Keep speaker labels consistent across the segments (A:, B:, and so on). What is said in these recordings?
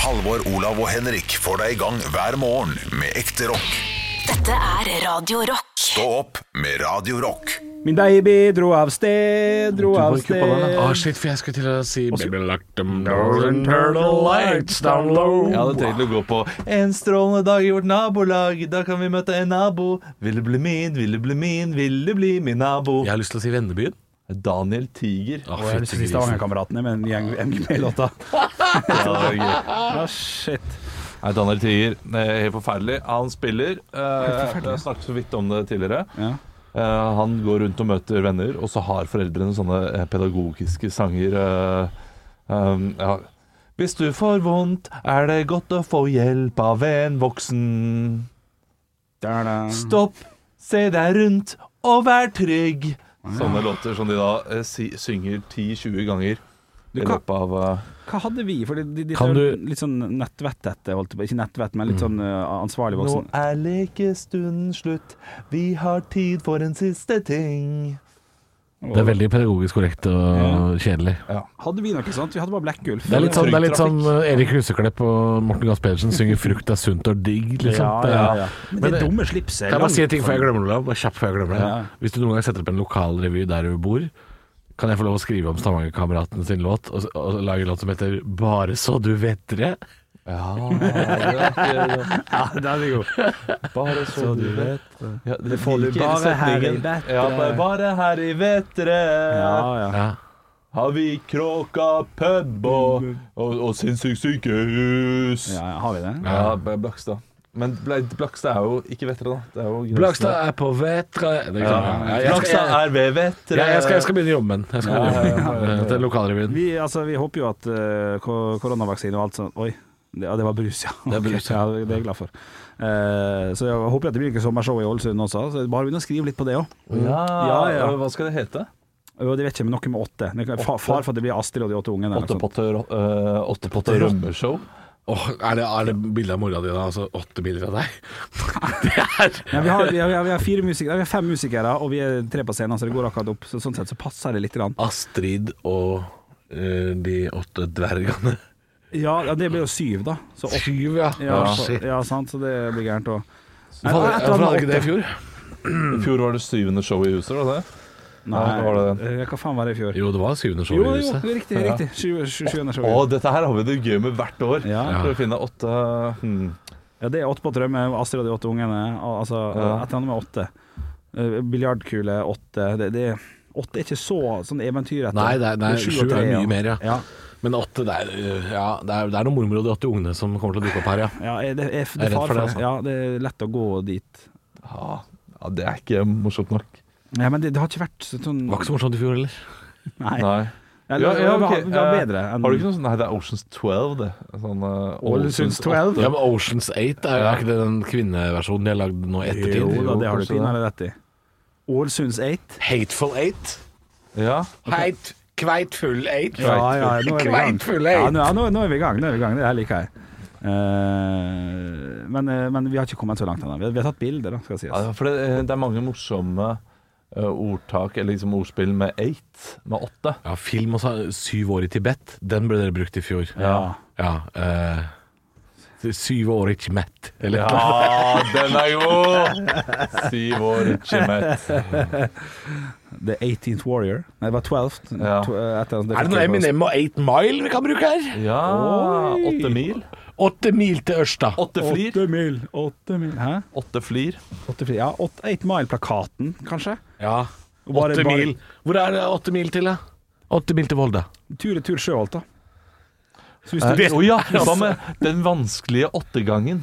A: Halvor, Olav og Henrik får deg i gang hver morgen med ekte rock.
B: Dette er Radio Rock.
A: Stå opp med Radio Rock.
C: Min baby dro av sted, dro
D: var
C: av
D: ikke på den,
C: sted.
D: ja.
E: Ah, shit, for jeg skulle til å si Baby lock them doors and turn the lights down low.
D: Jeg hadde tenkt å gå på En strålende dag i vårt nabolag, da kan vi møte en nabo. Vil du bli min, vil du bli min, vil du bli min nabo?
E: Jeg har lyst til å si Vennebyen.
D: Daniel Tiger.
E: Ah,
C: Og jeg har lyst til å si
E: fytti grisen.
C: Stavangerkameratene med den gjeng-
E: Ah.
C: MGP-låta.
D: Ja, det var gøy.
C: Ah, shit.
D: Nei, Daniel Tiger, eh, helt forferdelig. Han spiller. Eh, jeg snakket så vidt om det tidligere.
C: Ja.
D: Eh, han går rundt og møter venner, og så har foreldrene sånne eh, pedagogiske sanger. eh, um, ja. Hvis du får vondt, er det godt å få hjelp av en voksen.
C: Der, da.
D: Stopp, se deg rundt og vær trygg. Sånne låter som de da eh, si, synger 10-20 ganger i
C: kan-
D: løpet av eh,
C: Hva hadde vi? For de, de, de
E: Kan
C: de-
E: du- Mm.
C: litt sånn nettvettete, holdt jeg på Ikke nettvett, men litt sånn eh, ansvarlig
D: Nå
C: voksen.
D: er lekestunden slutt, vi har tid for en siste ting.
E: Det er veldig pedagogisk korrekt og kjedelig.
C: Hadde vi noe sånt? Vi hadde bare Blackgulf.
E: Det er litt
D: var
E: sånn, det er
D: trygg
E: litt sånn eh, Erik Huseklepp og Morten Gahr Pedersen synger 'Frukt er sunt og digg'. Liksom.
C: Ja, ja, ja. Men det
E: det-
C: dumme slipset
E: Kan jeg bare si en ting før jeg
C: langt-
E: glemmer det? Olav? Bare kjapt før jeg glemmer det.
C: Ja.
E: Hvis du noen gang setter opp en lokalrevy der du bor, kan jeg få lov å skrive om Stavangerkameratene sin låt, og, og lage en låt som heter 'Bare så du vet det'?
D: Ja, det er ikke,
C: Ja, den er god.
D: bare så, du vet ja, Det
C: får du
D: liker
C: bare her i
D: setningen.
C: vettet.
D: Ja, bare- bare her i vettet
C: Ja, ja.
E: Ja.
D: har vi Kråka pub og, og, og sinnssykt sykehus.
C: ja, ja. Har vi det?
D: Ja, B- Blakstad. Men Bla- Blakstad er jo ikke vettere, da. Det er jo
E: Blakstad er på vetre Det er ikke
D: ja.
E: sant. Ja, jeg skal-
D: Blakstad er ved vettere.
E: Ja, jeg, skal, jeg skal begynne å jobbe med den. Jeg skal begynne å jobbe med den. Til lokalrevyen.
C: Vi, altså, vi håper jo at eh, ko- koronavaksine og alt sånt Oi, det, ja, det var brus, ja.
E: er brus,
C: ja. det er jeg glad for. Eh, så jeg håper at det blir ikke sommershow i Ålesund også. Så bare begynn å skrive litt på det òg.
D: ja,
C: Ja, ja.
D: Hva skal det hete?
C: Og det vet ikke, men noe med åtte. Det kan- Fa, far for at det blir Astrid og de åtte ungene. eller noe sånt.
D: Åttepotte uh, åttepotte rømmeshow?
E: Åh, er, det, er det bilde av mora di, da? Altså åtte bilder av deg? Det er
C: Ja, vi, har, vi, har, vi har fire musikere, vi har fem musikere, og vi er tre på scenen, så det går akkurat opp. Så, sånn sett så passer det litt. Grann.
E: Astrid og eh, de åtte dvergene.
C: Ja, ja, det blir jo syv, da. Så åtte.
E: Syv, ja.
C: Ja,
E: Ah,
C: så,
E: shit.
C: ja, sant, så det blir gærent òg.
E: Hvorfor hadde- hvorfor hadde ikke det i fjor?
D: I fjor var det syvende show i huset, var det det?
C: Nei,
D: Ja, hva var det?
C: eh, hva faen var det i fjor?
E: Jo, det var syvende show
C: Jo,
E: i
C: jo,
E: huset.
C: riktig. riktig. Sju- sju- sjuende show.
D: Å, dette her har vi det gøy med hvert år.
C: Ja.
D: For å finne åtte hmm.
C: Ja, det er åtte på drømme, Astrid og de åtte ungene. al- Altså,
D: Ja.
C: Et eller annet med åtte. Eh, Biljardkule, åtte. Det, det, åtte er ikke så sånn eventyrete.
E: Nei, det er- nei,
C: Det
E: sju
C: og
E: er
C: tre,
E: mye mer, ja.
C: ja.
E: Men åtte, det er, eh, ja, det er, det er noen mormor og de åtte ungene som kommer til å dukke opp her, ja.
C: Ja, er det, er, det
E: Jeg
C: er
E: er redd
C: far
E: for
C: for
E: det,
C: det.
E: altså.
C: Ja, det er lett å gå dit.
D: ja. ja, det er ikke morsomt nok.
C: Ja, men det, det har ikke vært så- sånn
E: Det var ikke så morsomt i fjor heller.
C: Nei.
D: Nei.
C: Eller,
D: Ja, ja,
C: det var-
D: ok.
C: Det var
D: Eh,
C: bedre enn
D: Har du ikke noe sånn Nei, det er Oceans 12, det. Sånn eh,
C: Ålesunds 12?
E: Ja, men Oceans 8 er jo er ikke det den kvinneversjonen de har lagd nå i ettertid.
C: Jo da, det har du
D: kanskje det.
C: pinadø rett i. Ålesunds 8.
E: Hateful 8.
D: Ja.
E: Heit, kveitfull 8.
C: Ja, ja, nå er vi i gang.
E: Kveitfull
C: Ja,
E: eight.
C: nå, ja, nå, nå er vi i gang. Nå er vi i gang. Det her liker jeg. Eh, men, eh, men vi har ikke kommet så langt ennå. Vi, vi har tatt bilder, da, skal det sies.
D: ja for det, eh, det er mange morsomme eh, ordtak, eller liksom ordspill med eight, med åtte.
E: Ja, film også. Syv år i Tibet. Den ble dere brukt i fjor.
C: Ja.
E: Ja, eh, syv år i Tibet. Eller
D: Ja,
C: Ah,
D: den er god! Syv år, ikke mett.
C: The 18th Warrior. Nei, det var 12th.
D: Ja.
C: To- eh, etter-
E: Er det noe Eminem og 8 Mile vi kan bruke her?
D: Ja,
C: Oi.
D: åtte mil.
E: Åtte mil til Ørsta.
D: Åtte flir.
C: Åtte mil, åtte mil Hæ?
D: Åtte flir.
C: Åtte flir. Ja, åtte, Eight Mile-plakaten, kanskje?
E: Ja,
C: Bare-
E: åtte
C: bare-
E: mil. Hvor er det åtte mil til, da? Åtte mil til Volda.
C: Tur-retur Sjøholt, da. Så hvis
D: Å
C: du,
D: ja, hva med den vanskelige åttegangen?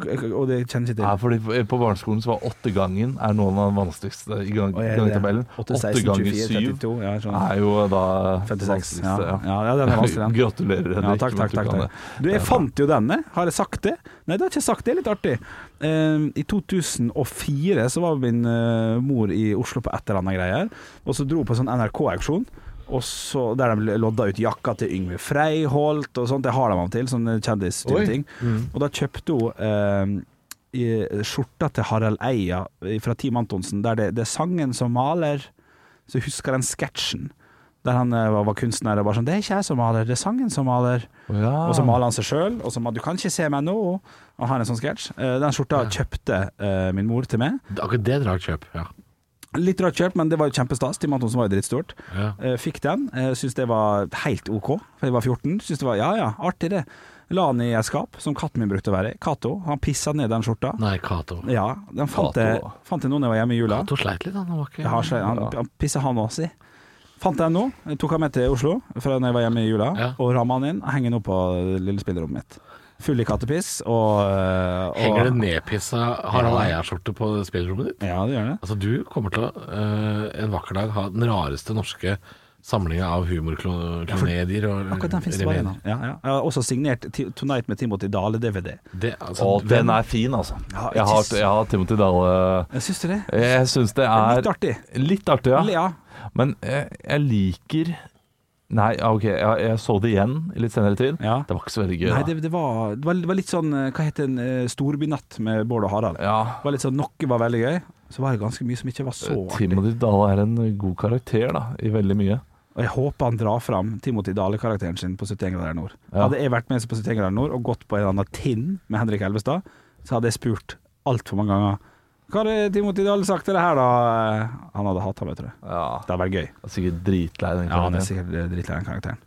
C: og det kjenner jeg ikke
D: Ja,
C: til.
D: fordi eh, På barneskolen så var åttegangen er noen av den vanskeligste i gang,
C: Å, er det det?
D: gangetabellen.
C: Åtte,
D: Åtte
C: 16,
D: ganger
C: 24,
D: syv
C: 32, ja, jeg skjønner.
D: er jo da
C: 56. Ja,
D: vanskeligste.
C: ja. ja den er vanskelig, den.
D: Gratulerer.
C: Ja, takk, takk,
D: Henrik, med at du
C: takk,
D: kan
C: takk.
D: det.
C: Du, jeg fant jo denne. Har jeg sagt det? Nei, det har jeg ikke sagt. Det er litt artig. Eh, I 2004 så var min eh, mor i Oslo på et eller annet greier, og så dro hun på en sånn NRK-auksjon. Og så Der de lodda ut jakka til Yngve Freiholt og sånt. Det har de av og til, sånne
D: Oi. Mm.
C: kjendistype ting. Og da kjøpte hun eh, i- skjorta til Harald Eia eh, fra Team Antonsen, der det, det er sangen som maler. Så jeg husker den sketsjen Der han eh, var, var kunstner og bare sånn 'Det er ikke jeg som maler, det er sangen som maler'.
D: ja.
C: Og så maler han seg sjøl, og så maler 'Du kan ikke se meg nå'. Og har en sånn sketsj. Eh, Den skjorta kjøpte eh, min mor til meg.
E: Akkurat det er et rart kjøp. Ja.
C: Litt rart kjøpt, men det var jo kjempestas. Tim Antonsen var jo drittstort.
E: Ja.
C: Eh, Fikk den. eh, Syns det var helt OK, for jeg var 14. Syns det var ja ja, artig det. La den i et skap, som katten min brukte å være i. Cato. Han pissa ned den skjorta.
E: Nei, Cato.
C: Ja, den fant
D: Cato,
C: jeg,
D: da.
C: fant jeg nå når jeg var hjemme i jula.
E: Cato sleit litt, han. han var ikke
C: Jeg har seg, han,
D: Ja.
C: han pisser han også i. Fant jeg den nå. Jeg tok han med til Oslo fra når jeg var hjemme i jula,
E: Ja.
C: og ramma han inn. Henger nå på det lille spillerommet mitt. Full i kattepiss og, øh, og
E: Henger det nedpissa Harald Eia-skjorte på spillrommet ditt?
C: Ja, det gjør det.
E: Altså, du kommer til å eh, en vakker dag ha den rareste norske samlinga av humorklamedier og
C: Akkurat den finnes det bare en
E: remedier.
C: av. Ja, ja. Jeg har også signert Ti- 'Tonight med Timothy Dale'-DVD.
E: Det, altså,
D: Og
E: hvem-
D: den er fin, altså.
C: Ja,
D: Jeg har,
C: ikke s-
D: jeg har Timothy Dale
C: Syns du det?
D: Jeg syns det er
C: Litt artig.
D: Litt artig, ja.
C: Ja.
D: Men jeg, jeg liker Nei, ja, OK, jeg, jeg så det igjen i litt senere tid.
C: Ja.
D: Det var ikke så veldig gøy.
C: Nei,
D: da.
C: det, det, var, det var- det var litt sånn eh, Hva heter en eh, storbynatt med Bård og Harald?
D: Ja.
C: Det var litt sånn, Noe var veldig gøy, så var det ganske mye som ikke var så artig.
D: Timothy Dale er en god karakter da, i veldig mye.
C: Og jeg håper han drar fram Timothy Dale-karakteren sin på 71 grader nord.
D: Ja.
C: Hadde jeg vært med på 71 grader nord og gått på en eller annen tinn med Henrik Elvestad, så hadde jeg spurt altfor mange ganger Hva hadde Timothy Dale sagt til det her, da? Han hadde hata meg, tror jeg.
D: Ja,
C: Det hadde vært gøy.
D: er Sikkert dritlei den
C: Ja, han er
D: karakteren.
C: sikkert eh, dritlei av den karakteren.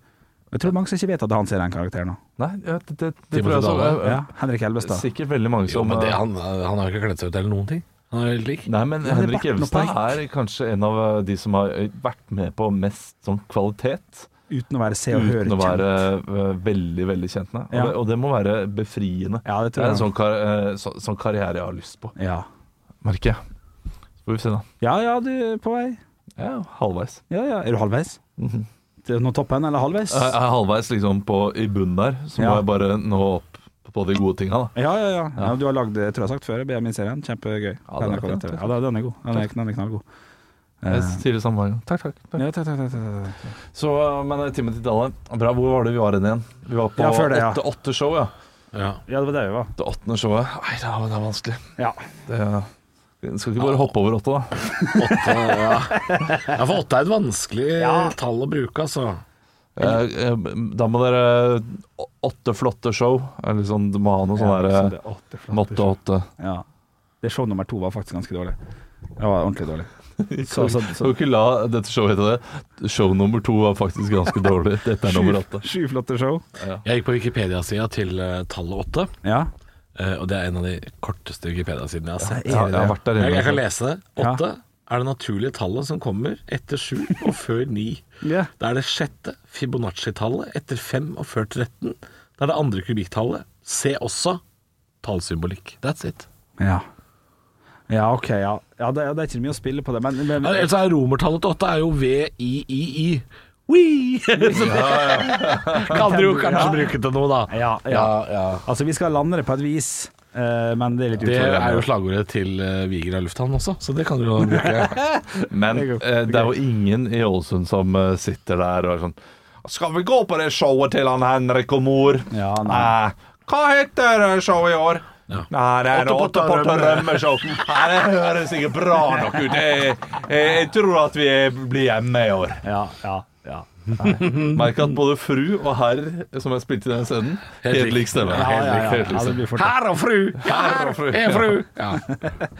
C: Jeg tror mange som ikke vet at han ser den karakteren nå.
D: Nei, ja, det, det, det
E: Timothy
D: tror jeg så.
E: Dale,
D: ja.
C: Ja, Henrik Elvestad.
D: Sikkert veldig mange
E: Jo,
D: som eh,
E: men det, han, han har jo ikke kledd seg ut eller noen ting. Han er helt lik.
D: Nei, men
C: Ja, det er
D: Henrik
C: barten og
D: Evenstad er
C: parykk.
D: kanskje en av eh, de som har eh, vært med på mest sånn kvalitet.
C: Uten å være se og høre
D: Uten å
C: kjent.
D: være eh, veldig, veldig kjent med. Og,
C: Ja.
D: det, og det må være befriende.
C: Ja, det
D: Det
C: tror
D: er en
C: jeg.
D: sånn, kar eh, så, sånn karriere jeg har lyst på,
C: Ja.
D: merker jeg. Så får vi se, da.
C: ja ja, du er på vei.
D: Ja, halvveis.
C: Ja ja. Er du halvveis?
D: Mhm.
C: Til Nå toppen, eller halvveis?
D: Jeg Eh, er halvveis liksom på, i bunnen der, så
C: Ja.
D: må jeg bare nå opp på de gode tinga, da.
C: Ja, ja, ja. ja du har lagd jeg tror jeg har sagt før, BMI-serien. Kjempegøy. den,
D: Ja, den
C: er
D: er
C: på
D: fin.
C: TV. ja, da- den er god. Den er, den er knallgod. Eh,
D: Jeg sier det samme hver gang. Takk, takk. takk.
C: ja, takk, takk, takk, takk, takk.
D: Så, eh, men eh, Timothy Dale, bra, hvor var det vi var hen igjen? Vi var på
C: Ja, før det, ja.
D: åtte, åtte show, ja.
E: Ja.
C: ja, det var det vi var.
D: Det åttende showet. Nei, det er, det er vanskelig.
C: Ja.
D: Det skal ikke bare hoppe over åtte, da.
E: Åtte, ja. ja, for åtte er et vanskelig tall å bruke, altså.
D: Eh, eh, Da må dere å- åtte flotte show. Eller sånn, du må ha noe sånn
C: Ja, så
D: derre
C: det er åtte flotte
D: Måtte
C: show.
D: åtte.
C: Ja. Det show nummer to var faktisk ganske dårlig. Det var ordentlig dårlig. Så, så,
D: Kan
C: så,
D: vi ikke la dette showet hete det? Show nummer to var faktisk ganske dårlig. Dette er nummer åtte.
C: sju, sju flotte show.
E: Jeg gikk på Wikipedia-sida til eh, tallet åtte,
C: Ja.
E: eh, og det er en av de korteste Wikipedia-sidene jeg har sett.
D: Jeg, jeg har vært der
E: Jeg, jeg kan
D: inne.
E: lese det.
C: Ja.
E: Åtte er det naturlige tallet som kommer etter sju og før ni.
C: Ja.
E: Det er det sjette Fibonacci-tallet etter fem og før 13. Det er det andre kubikktallet. Se også tallsymbolikk. That's it.
C: ja. Ja, OK, ja. ja det, det er ikke mye å spille på det, men, men
E: Ja, Ellers er romertallet til åtte er jo VIII. Wee! Så det kan du jo kanskje bruke til noe, da.
C: ja, ja. Altså, vi skal lande det på et vis, eh, men det er litt
E: Det
C: utfordrende.
E: er jo slagordet til eh, Vigra lufthavn også, så det kan du jo bruke.
D: Men
C: Det er godt.
D: eh, det er jo ingen i Ålesund som eh, sitter der og er sånn Skal vi gå på det showet til han Henrik og mor?
C: Ja, nei.
D: Eh, hva heter eh, showet i år?
E: Ja.
D: Nei, det er
E: Åtte
D: Åtte
E: potter
D: potter
E: rømme.
D: rømme-show. Nei, det høres ikke bra nok ut. Jeg, jeg, jeg tror at vi blir hjemme i år.
C: Ja, ja, ja. Mm.
D: Merk at både fru og herr som jeg spilte i den scenen, helt lik stemme.
C: Ja, ja, ja.
D: Helt lik
C: Ja, det
D: stemme.
C: blir fort det.
E: Herr og fru! Herr og fru! Er fru. Ja.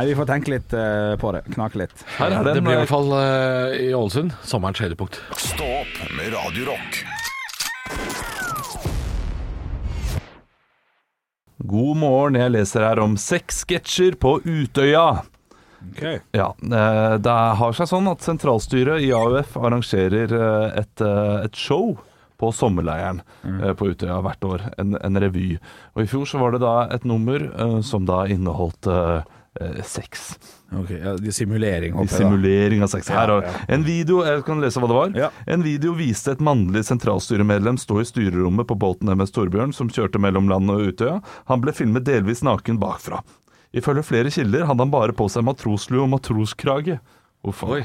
C: Nei, vi får tenke litt eh, på det. Knake litt.
D: Her er
E: Det
D: den,
E: blir i
D: eh,
E: hvert fall eh, i Ålesund sommerens høydepunkt.
A: Stå opp med Radio Rock.
D: God morgen, jeg leser her om seks sketsjer på Utøya. Ja, eh, Det har seg sånn at sentralstyret i AUF arrangerer eh, et, eh, et show på sommerleiren eh, på Utøya hvert år. En, en revy. Og i fjor så var det da et nummer eh, som da inneholdt eh, eh, sex.
C: Ok, ja, de simulering,
D: I simulering av sex. Her,
C: Ja,
D: og en video jeg kan lese hva det var.
C: Ja.
D: En video viste et mannlig sentralstyremedlem stå i styrerommet på båten MS Torbjørn, som kjørte mellom land og Utøya. Han ble filmet delvis naken bakfra. Ifølge flere kilder hadde han bare på seg matroslue og matroskrage. Uff,
E: Oi.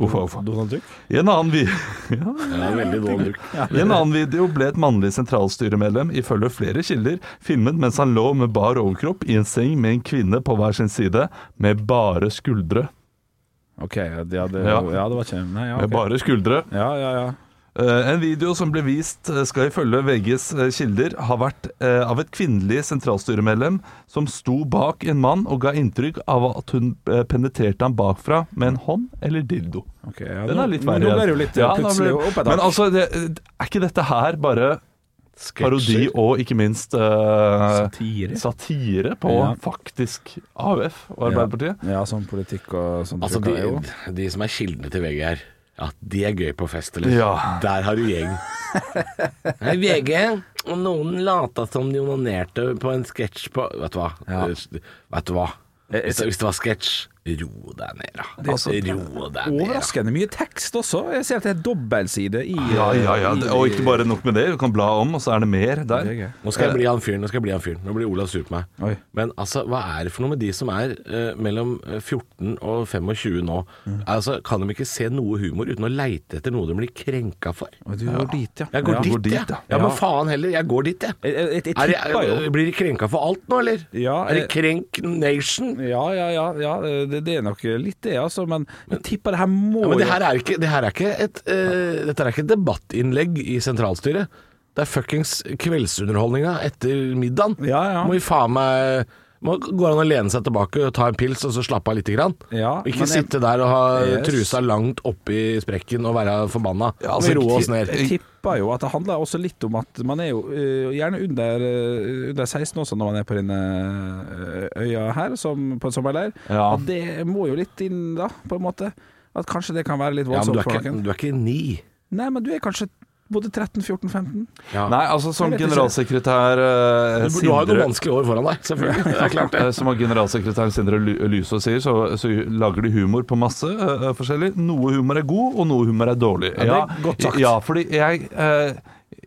D: Uff, uff.
C: Donald Duck?
D: I en annen video
E: Ja, veldig dårlig bruk.
D: i en annen video ble et mannlig sentralstyremedlem, ifølge flere kilder, filmet mens han lå med bar overkropp i en seng med en kvinne på hver sin side, med bare skuldre.
C: OK, ja, det, ja, det,
D: Ja.
C: ja, det var ikke Nei, ja,
D: Med
C: ok.
D: bare skuldre.
C: ja, ja, ja.
D: Eh, En video som ble vist, eh, skal ifølge VGs eh, kilder ha vært eh, av et kvinnelig sentralstyremedlem som sto bak en mann og ga inntrykk av at hun eh, penetrerte ham bakfra med en hånd eller dildo.
C: Ok, ja,
D: Den
C: nå-
D: er litt
C: nå-
D: verre.
C: Nå ble det jo litt eh,
D: Ja, da
C: plutselig
D: ble-
C: opp et
D: Men
C: tak.
D: altså, det, er ikke dette her bare parodi og ikke minst eh,
C: Satire.
D: satire på
C: Ja.
D: faktisk AUF og Arbeiderpartiet?
C: Ja, sånn politikk og sånn.
E: Altså,
C: trykk er jo.
E: de, de som er kildene til VG her, ja, de er gøy på fest, eller?
D: Ja.
E: Der har du gjeng. Hei, VG. Og noen lata som de onanerte på en sketsj på Vet du hva? Vet du hva? Hvis, hvis det var sketsj, ro deg ned, da. Altså, ro deg ned. da.
C: Overraskende mye tekst også. Jeg ser at det er dobbeltside i
D: Ja, ja, ja.
C: i-
D: det- Og ikke bare nok med det, du kan bla om, og så er det mer der.
C: Det er gøy.
E: Nå skal jeg bli han fyren. Nå skal jeg bli han fyren. Nå blir Olav sur på meg.
C: Eh. Oi.
E: Men altså, hva er det for noe med de som er eh, mellom eh, 14 og 25 nå?
C: Mm.
E: Altså, Kan de ikke se noe humor uten å leite etter noe de blir krenka for?
C: Å, Du går dit, ja.
E: Jeg går
C: ja.
E: dit,
D: dit,
E: jeg.
D: ja.
E: Ja. men faen heller. Jeg går dit, jeg.
C: Jeg, jeg, jeg, jeg
E: Er det,
C: tipper jo
E: er, blir de krenka for alt nå, eller?
C: Ja,
E: er det
C: eh,
E: krenk nation?
C: Ja, ja, ja. ja det, det er nok litt det, altså. Men jeg tipper det her må
E: Ja, men det
C: jo-
E: her er ikke, det her er ikke et eh, Dette er ikke et debattinnlegg i sentralstyret. Det er fuckings kveldsunderholdninga etter middagen.
C: Ja, ja.
E: Må vi faen meg må, Går an å lene seg tilbake, ta en pils og så slappe av lite grann?
C: Ja,
E: ikke
C: men jeg-
E: sitte der og ha
C: Yes.
E: trusa langt oppi sprekken og være forbanna.
D: Ja,
E: Må vi
D: altså,
E: roe oss ned.
C: Jeg tipper jo at det handler også litt om at man er jo eh, gjerne under, eh, under 16 også når man er på denne eh, øya her, som, på en sommerleir.
D: Ja.
C: At det må jo litt inn da, på en måte. At kanskje det kan være litt
E: Ja, men
C: voldsomt
E: du er
C: for
E: ikke,
C: noen.
E: du er ikke ni.
C: Nei, men du er kanskje både 13, 14, 15?
E: Ja.
D: Nei, altså som
C: Jeg vet ikke.
D: generalsekretær eh,
E: du, du har jo
D: Sindre-
E: noen vanskelige år foran deg, selvfølgelig. Det er klart.
D: Eh, Som generalsekretæren Sindre Ly- Lyså sier, så, så lager de humor på masse eh, eh, forskjellig. Noe humor er god, og noe humor er dårlig.
C: Ja, det er godt sagt.
D: ja fordi jeg, eh,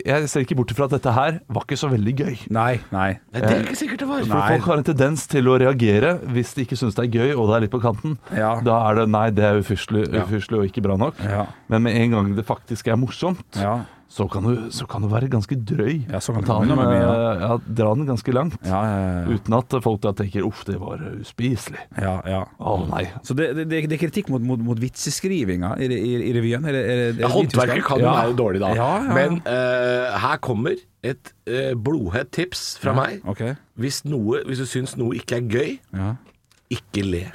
D: jeg ser ikke bort ifra at dette her var ikke så veldig gøy.
C: Nei. nei. Eh,
E: Nei, det er ikke sikkert det var.
D: For
C: Nei.
D: Folk har en tendens til å reagere hvis de ikke syns det er gøy, og det er litt på kanten.
C: Ja.
D: Da er det 'nei, det er ufyselig,
E: Ja.
D: ufyselig og ikke bra nok'.
C: Ja.
D: Men med en gang det faktisk er morsomt,
C: Ja.
D: så, kan du, så kan du være ganske drøy.
C: Ja, så kan det
D: Ta
C: komme
D: den,
C: unna med mye,
D: eh, ja, dra den ganske langt.
C: Ja, ja, ja.
D: Uten at folk da tenker 'uff, det var uspiselig'.
C: ja, ja.
D: Å nei.
C: Så det, det, det er kritikk mot, mot, mot vitseskrivinga i, i, i revyen? Er det, er det, er det
E: Ja, håndverket
C: vitenskap?
E: kan jo
C: Ja.
E: være dårlig da.
C: Ja, ja.
E: Men eh, her kommer et eh, blodhett tips fra meg.
C: Ok.
E: Hvis, noe, hvis du syns noe ikke er gøy,
C: Ja.
E: ikke le.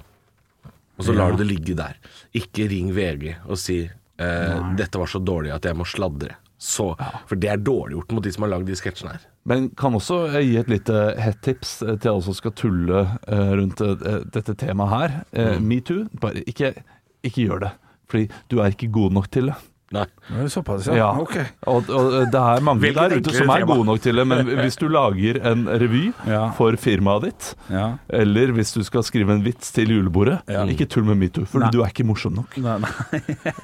E: Og så lar du det ligge der. Ikke ring VG og si eh, 'dette var så dårlig at jeg må sladre'. Så, for det er dårlig gjort mot de som har lagd de sketsjene her.
D: Men kan også eh, gi et lite hett tips eh, til alle som skal tulle eh, rundt eh, dette temaet her. Eh,
C: Mm.
D: Metoo, bare ikke, ikke gjør det. Fordi du er ikke god nok til det.
E: Nei.
C: Nå er det såpass, ja.
D: Ja.
C: Ok.
D: Og, og det er mange
E: Hvilket
D: der ute
E: enklere
D: som er
E: tema.
D: gode nok til det, men hvis du lager en revy
C: Ja.
D: for firmaet ditt,
C: Ja.
D: eller hvis du skal skrive en vits til julebordet, ikke tull med metoo, for
C: Nei.
D: du er ikke morsom nok.
C: Nei, nei.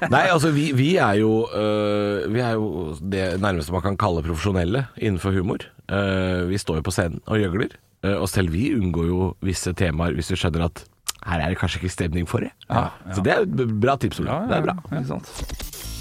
E: Nei, altså vi, vi er jo øh, Vi er jo det nærmeste man kan kalle profesjonelle innenfor humor. Eh, vi står jo på scenen og gjøgler. Eh, og selv vi unngår jo visse temaer hvis vi skjønner at her er det kanskje ikke stemning for det. Så det er jo et bra tips. Olav. Det er bra.
D: Ikke sant?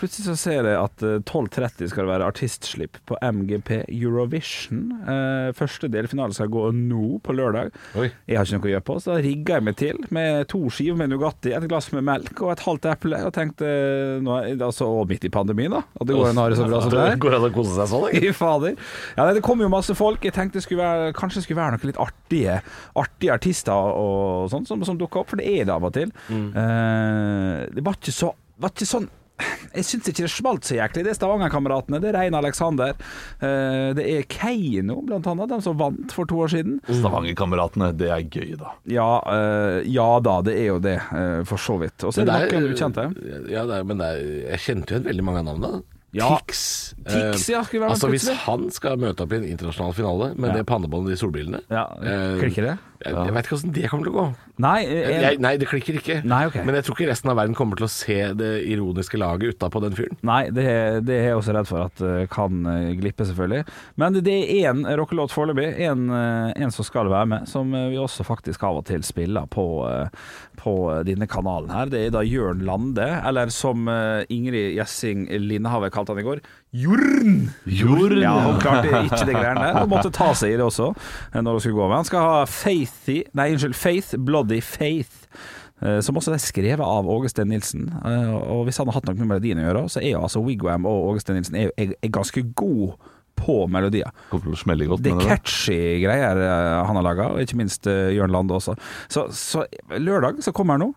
C: Plutselig så ser jeg at eh, 12.30 skal det være artistslipp på MGP Eurovision. Eh, første delfinale skal gå nå på lørdag.
E: Oi.
C: Jeg har ikke noe å gjøre på, så da rigga jeg meg til med to skiver med Nugatti, et glass med melk og et halvt eple, og tenkte eh, nå, er- altså, Og midt i pandemien, da. At det går an å ha det så bra som det er.
E: går an å kose seg sånn, ikke?
C: Fy fader. Ja, nei, det kom jo masse folk. Jeg tenkte det skulle være, kanskje det skulle være noen litt artige Artige artister og sånn som, som dukka opp, for det er det av og til. Eh, det var ikke så var ikke sånn jeg syns ikke det smalt så jæklig. Det er Stavanger-kameratene, det er Rein Alexander. eh, det er Keiino, blant annet, de som vant for to år siden.
D: Stavanger-kameratene, det er gøy, da.
C: Ja, eh, ja da, det er jo det, eh, for så vidt. Og så er det noen ukjente.
E: Ja, det er, men det er, jeg kjente jo igjen veldig mange av navnene.
C: Ja.
E: Tix.
C: Tix,
E: Eh,
C: ja, skulle være med
E: altså, hvis
C: plutselig.
E: han skal møte opp i en internasjonal finale med det pannebåndet og de solbrillene
C: Ja,
E: eh,
C: klikker det?
E: Jeg, jeg veit ikke åssen det kommer til å gå.
C: Nei, eh,
E: Jeg, nei, det klikker ikke.
C: Nei, ok.
E: Men jeg tror ikke resten av verden kommer til å se det ironiske laget utapå den fyren.
C: Nei, det, det er jeg også redd for at eh, kan eh, glippe, selvfølgelig. Men det er én rockelåt foreløpig. En, eh, en som skal være med, som eh, vi også faktisk av og til spiller på, eh, på denne kanalen her. Det er da Jørn Lande, eller som eh, Ingrid Gjessing Linehavet kalte han i går, Jorn!
D: Jorn!
C: Ja, hun klarte ikke det greiene der. Hun måtte ta seg i det også eh, når hun skulle gå med. Han skal ha Faithy Nei, unnskyld, Faith Bloody Faith. eh, Som også er skrevet av Åge Steen Nilsen. Eh, Og hvis han har hatt noe med melodiene å gjøre, så er jo altså Wigwam og Åge Steen Nilsen er, jo- er, er ganske god på melodier.
D: Kommer til å smelle godt,
C: Det er
D: mener du?
C: catchy greier eh, han har laga, og ikke minst eh, Jørn Lande også. Så, så lørdag så kommer han nå.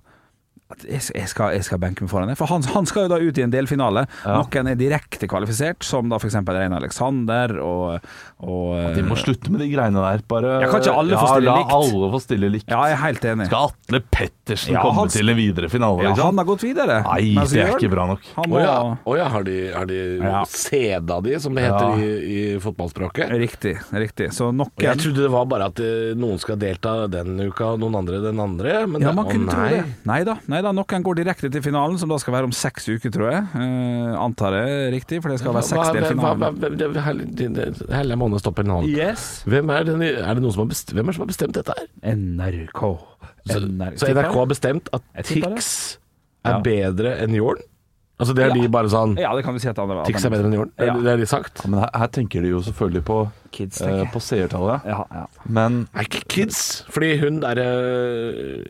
C: At Jeg jeg skal, jeg skal benke meg foran det. For han, han skal jo da ut i en delfinale. Noen er direkte kvalifisert, som da f.eks. Reine Alexander og, og eh,
D: De må slutte med de greiene der. Bare,
C: Ja, kan ikke alle få stille
D: ja, la
C: likt?
D: alle få stille likt.
C: Ja, jeg er helt enig.
D: Skal Atle Pettersen
C: Ja,
D: komme
C: han-
D: til en videre finale?
C: Ja,
D: liksom?
C: han har gått videre.
D: Nei,
C: mens
D: det er
C: Jørn,
D: ikke bra nok.
C: Han
E: Å
C: må,
E: ja, å ja, har de, har de
C: Ja.
E: seda de, som det heter
D: Ja.
E: i, i fotballspråket?
C: Riktig. riktig Så noen
E: Og jeg trodde det var bare at eh, noen skal delta den uka, og noen andre den andre. Men
C: Ja,
E: det-
C: man
E: å,
C: kunne tro
E: nei.
C: det. Nei da, nei da, noen går direkte til finalen, som da skal være om seks uker, tror jeg. Eh, antar jeg riktig, for det skal være seks delfinaler.
E: Helle måned stopper en annen.
C: Yes.
E: Hvem er, den, er det noen som har bestemt, hvem er det som har bestemt dette her?
C: NRK.
E: Så, så NRK har bestemt at
C: Jeg tipper
E: Tix er
C: Ja.
E: bedre enn Jorn? Altså det er
C: Ja.
E: de bare sånn
C: Ja, det kan vi si at han var.
E: Tix er bedre enn Jorn? Det
C: Ja.
E: er- Det har de sagt?
D: Men her, her tenker de jo selvfølgelig på,
C: Kids,
D: eh,
C: tenker jeg.
D: på seertallet.
C: Ja, ja.
D: Men
E: Nei, ikke kids. Fordi hun derre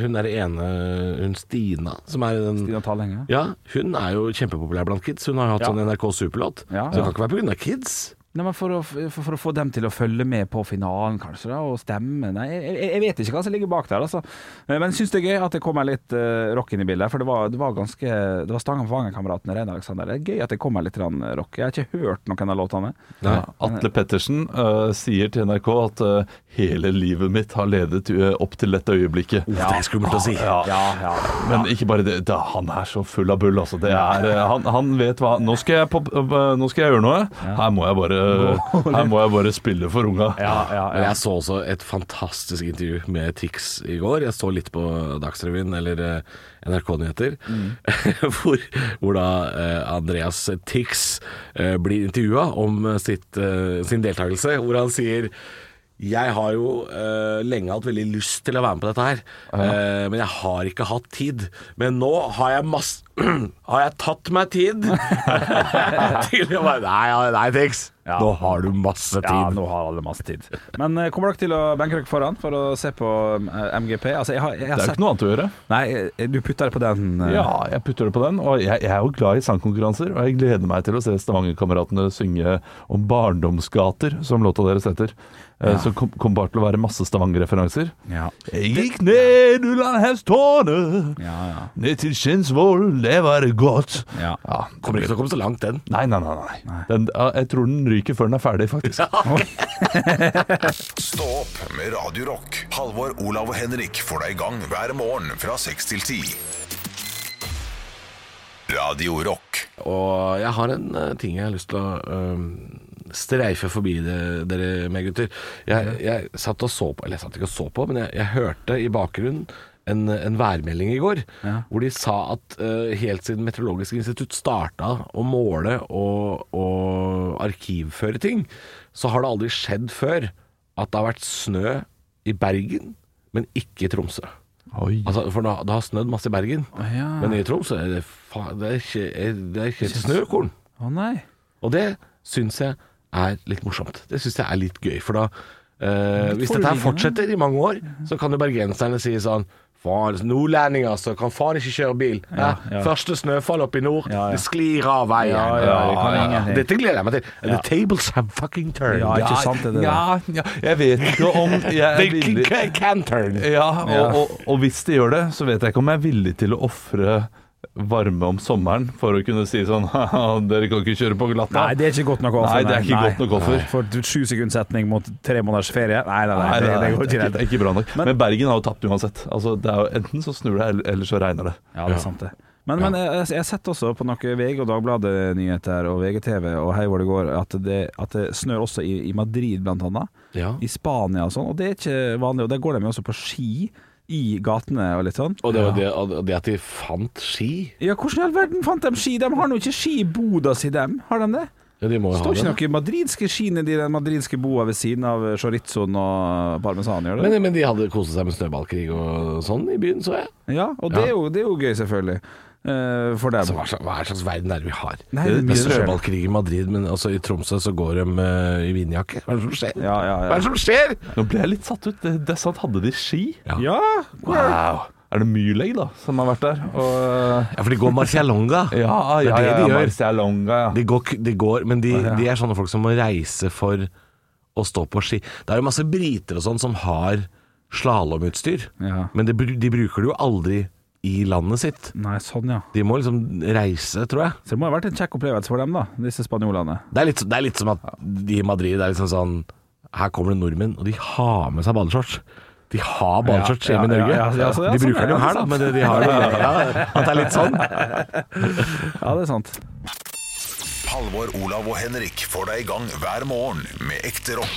E: Hun derre ene Hun Stina, som er i den
C: Stina Tallenge.
E: Ja, hun er jo kjempepopulær blant kids. Hun har jo hatt
C: Ja.
E: sånn NRK Superlåt.
C: Ja.
E: Så det kan ikke være pga. kids.
C: Nei, men for å, for, for å få dem til å følge med på finalen, kanskje, da, og stemme Nei, jeg, jeg- jeg vet ikke hva som ligger bak der, altså. Eh, Men syns det er gøy at det kommer litt eh, rock inn i bildet. For det var, det var ganske Det var Stangen Fangen-kameratene, Reine Alexander. Det er gøy at det kommer litt grann rock. Jeg har ikke hørt noen av låtene.
E: Nei.
D: ja, Atle Pettersen eh, sier til NRK at eh, hele livet mitt har ledet eh, opp til dette øyeblikket.
E: Det er skummelt å si.
D: Ja.
C: ja.
D: Men ikke bare det, da, han er så full av bull, altså. Det er, eh, han, han vet hva nå skal, jeg på, eh, nå skal jeg gjøre noe. Her må jeg bare, her må jeg bare spille for unga.
E: Men Jeg så også et fantastisk intervju med Tix i går. Jeg så litt på Dagsrevyen, eller eh, NRK Nyheter,
C: Mm.
E: hvor, hvor da eh, Andreas Tix eh, blir intervjua om eh, sitt, eh, sin deltakelse, hvor han sier jeg har jo eh, lenge hatt veldig lyst til å være med på dette her, eh, men jeg har ikke hatt tid. Men nå har jeg masse Har jeg tatt meg tid til å være Nei, ja, nei, Tix. Nå har du masse tid.
C: Ja, nå har alle masse tid. Men eh, kommer dere til å benke dere foran for å se på eh, MGP? Altså, jeg har, jeg
D: Det
C: har
D: er jo
C: sett
D: ikke noe annet å gjøre.
C: Nei, eh, du putter det på den. eh,
D: Ja, jeg putter det på den. Og jeg, jeg er jo glad i sangkonkurranser, og jeg gleder meg til å se Stavanger-kameratene synge om barndomsgater, som låta deres heter. Eh, Så kom- kommer bare til å være masse Stavanger-referanser.
C: Ja.
D: Jeg gikk ned Ullandhavstårnet,
C: Ja, ja.
D: ned til Skinsvoll, det var det godt.
C: Ja.
D: Ja.
E: Kommer ikke til å komme så langt, den.
D: Nei, nei, nei. nei. Den, ja, jeg tror den ryker før den er ferdig, faktisk.
A: Stå opp med Radio Rock. Halvor, Olav og Henrik får deg i gang hver morgen fra 6 til 10. Radio Rock.
E: Og jeg har en eh, ting jeg har lyst til å eh, streife forbi det, dere med, gutter. Jeg, jeg satt og så på, eller jeg satt ikke og så på, men jeg, jeg hørte i bakgrunnen en, en værmelding i går, hvor de sa at eh, helt siden Meteorologisk institutt starta å måle og, og arkivføre ting, så har det aldri skjedd før at det har vært snø i Bergen, men ikke i Tromsø.
D: Oi.
E: Altså, for det har- det har snødd masse i Bergen, men i Tromsø er det, fa det, er ikke, er, det er ikke et snøkorn.
C: Å nei.
E: Og det syns jeg er litt morsomt. Det syns jeg er litt gøy, for da eh, Hvis dette her
C: foruroligende.
E: fortsetter i mange år,
C: Mhm.
E: så kan jo bergenserne si sånn Faen, nordlendinger så kan faen ikke kjøre bil. Eh,
C: ja.
E: Første snøfall oppe i nord,
C: Ja, ja.
E: det sklir av veien.
C: Ja, ja, det kan ingenting.
E: Dette gleder jeg meg til. The tables have fucking turned.
C: Ja, ikke sant det, det
D: ja, ja, jeg vet ikke om jeg er
E: They
D: villig
E: can- can turn.
D: Ja, og, Og, og hvis de gjør det, så vet jeg ikke om jeg er villig til å ofre varme om sommeren for å kunne si sånn «Haha, Dere kan ikke kjøre på glatta.
C: Nei, det er ikke godt nok offer.
D: Nei, det er ikke godt nok offer.
C: For sju sekunds setning mot tre måneders ferie? Nei, nei, nei,
D: Nei,
C: det, det
D: nei,
C: går
D: det
C: ikke
D: er
C: rett.
D: ikke, ikke bra nok. Men, Bergen har jo tapt uansett. Altså, det er jo Enten så snur det, eller- eller så regner det.
C: Ja, det er sant det. Men, men jeg, jeg har sett også på noen VG og Dagbladet-nyheter og VGTV og hei hvor det går, at det, at det snør også i, i Madrid blant annet.
E: Ja.
C: I Spania og sånn, og det er ikke vanlig. Og der går de jo også på ski i gatene og litt sånn.
E: Og det, var det, og det at de fant ski
C: Ja, hvordan i all verden fant de ski? De har nå ikke ski i boda si, dem. Har de det?
E: Ja, de må
C: Det
E: jo ha
C: står
E: det.
C: ikke noen madridske ski nedi den madridske boa ved siden av chorizoen og parmesan, gjør det?
E: Men, men de hadde koset seg med snøballkrig og sånn i byen, så jeg.
C: Ja, og det er jo, det er jo gøy, selvfølgelig. eh, for dem.
E: Altså, hva, slags, hva er slags verden er det vi har?
C: Nei, det
E: det, er
C: er mye som skjer.
E: snøballkrig i Madrid, men altså, i Tromsø så går de eh, i vindjakke. Hva er det som skjer?
C: Ja, ja,
E: Hva
C: ja.
E: er det som skjer?
D: Nå ble jeg litt satt ut. Det, det er sant, hadde de ski?
C: ja.
D: Wow. Er det Myrleg, da, som har vært der? Og, eh,
E: Ja, for de går Marcialonga.
D: ja, ja,
E: det
D: ja,
E: de
D: ja,
E: gjør.
D: Marcialonga, ja.
E: De går, k- de går men de, de er sånne folk som må reise for å stå på ski. Det er jo masse briter og sånn som har slalåmutstyr,
C: Ja.
E: men de, bru- de bruker det jo aldri i landet sitt.
C: Nei, sånn, ja.
E: De må liksom reise, tror jeg.
C: Så det må ha vært en kjekk opplevelse for dem, da, disse spanjolene.
E: Det er litt, det er litt som at de i Madrid det er liksom sånn Her kommer det nordmenn, og de har med seg badeshorts. De har badeshorts
C: Ja,
E: hjemme i
C: ja,
E: Norge.
C: ja, ja, ja, så- ja,
E: de
C: sånn
E: bruker
C: er
E: det jo
C: det,
E: her, da,
C: sant.
E: men de har det ja, At det er litt sånn.
C: Ja, det er sant.
A: Halvor, Olav og Henrik får deg i gang hver morgen med ekte rock.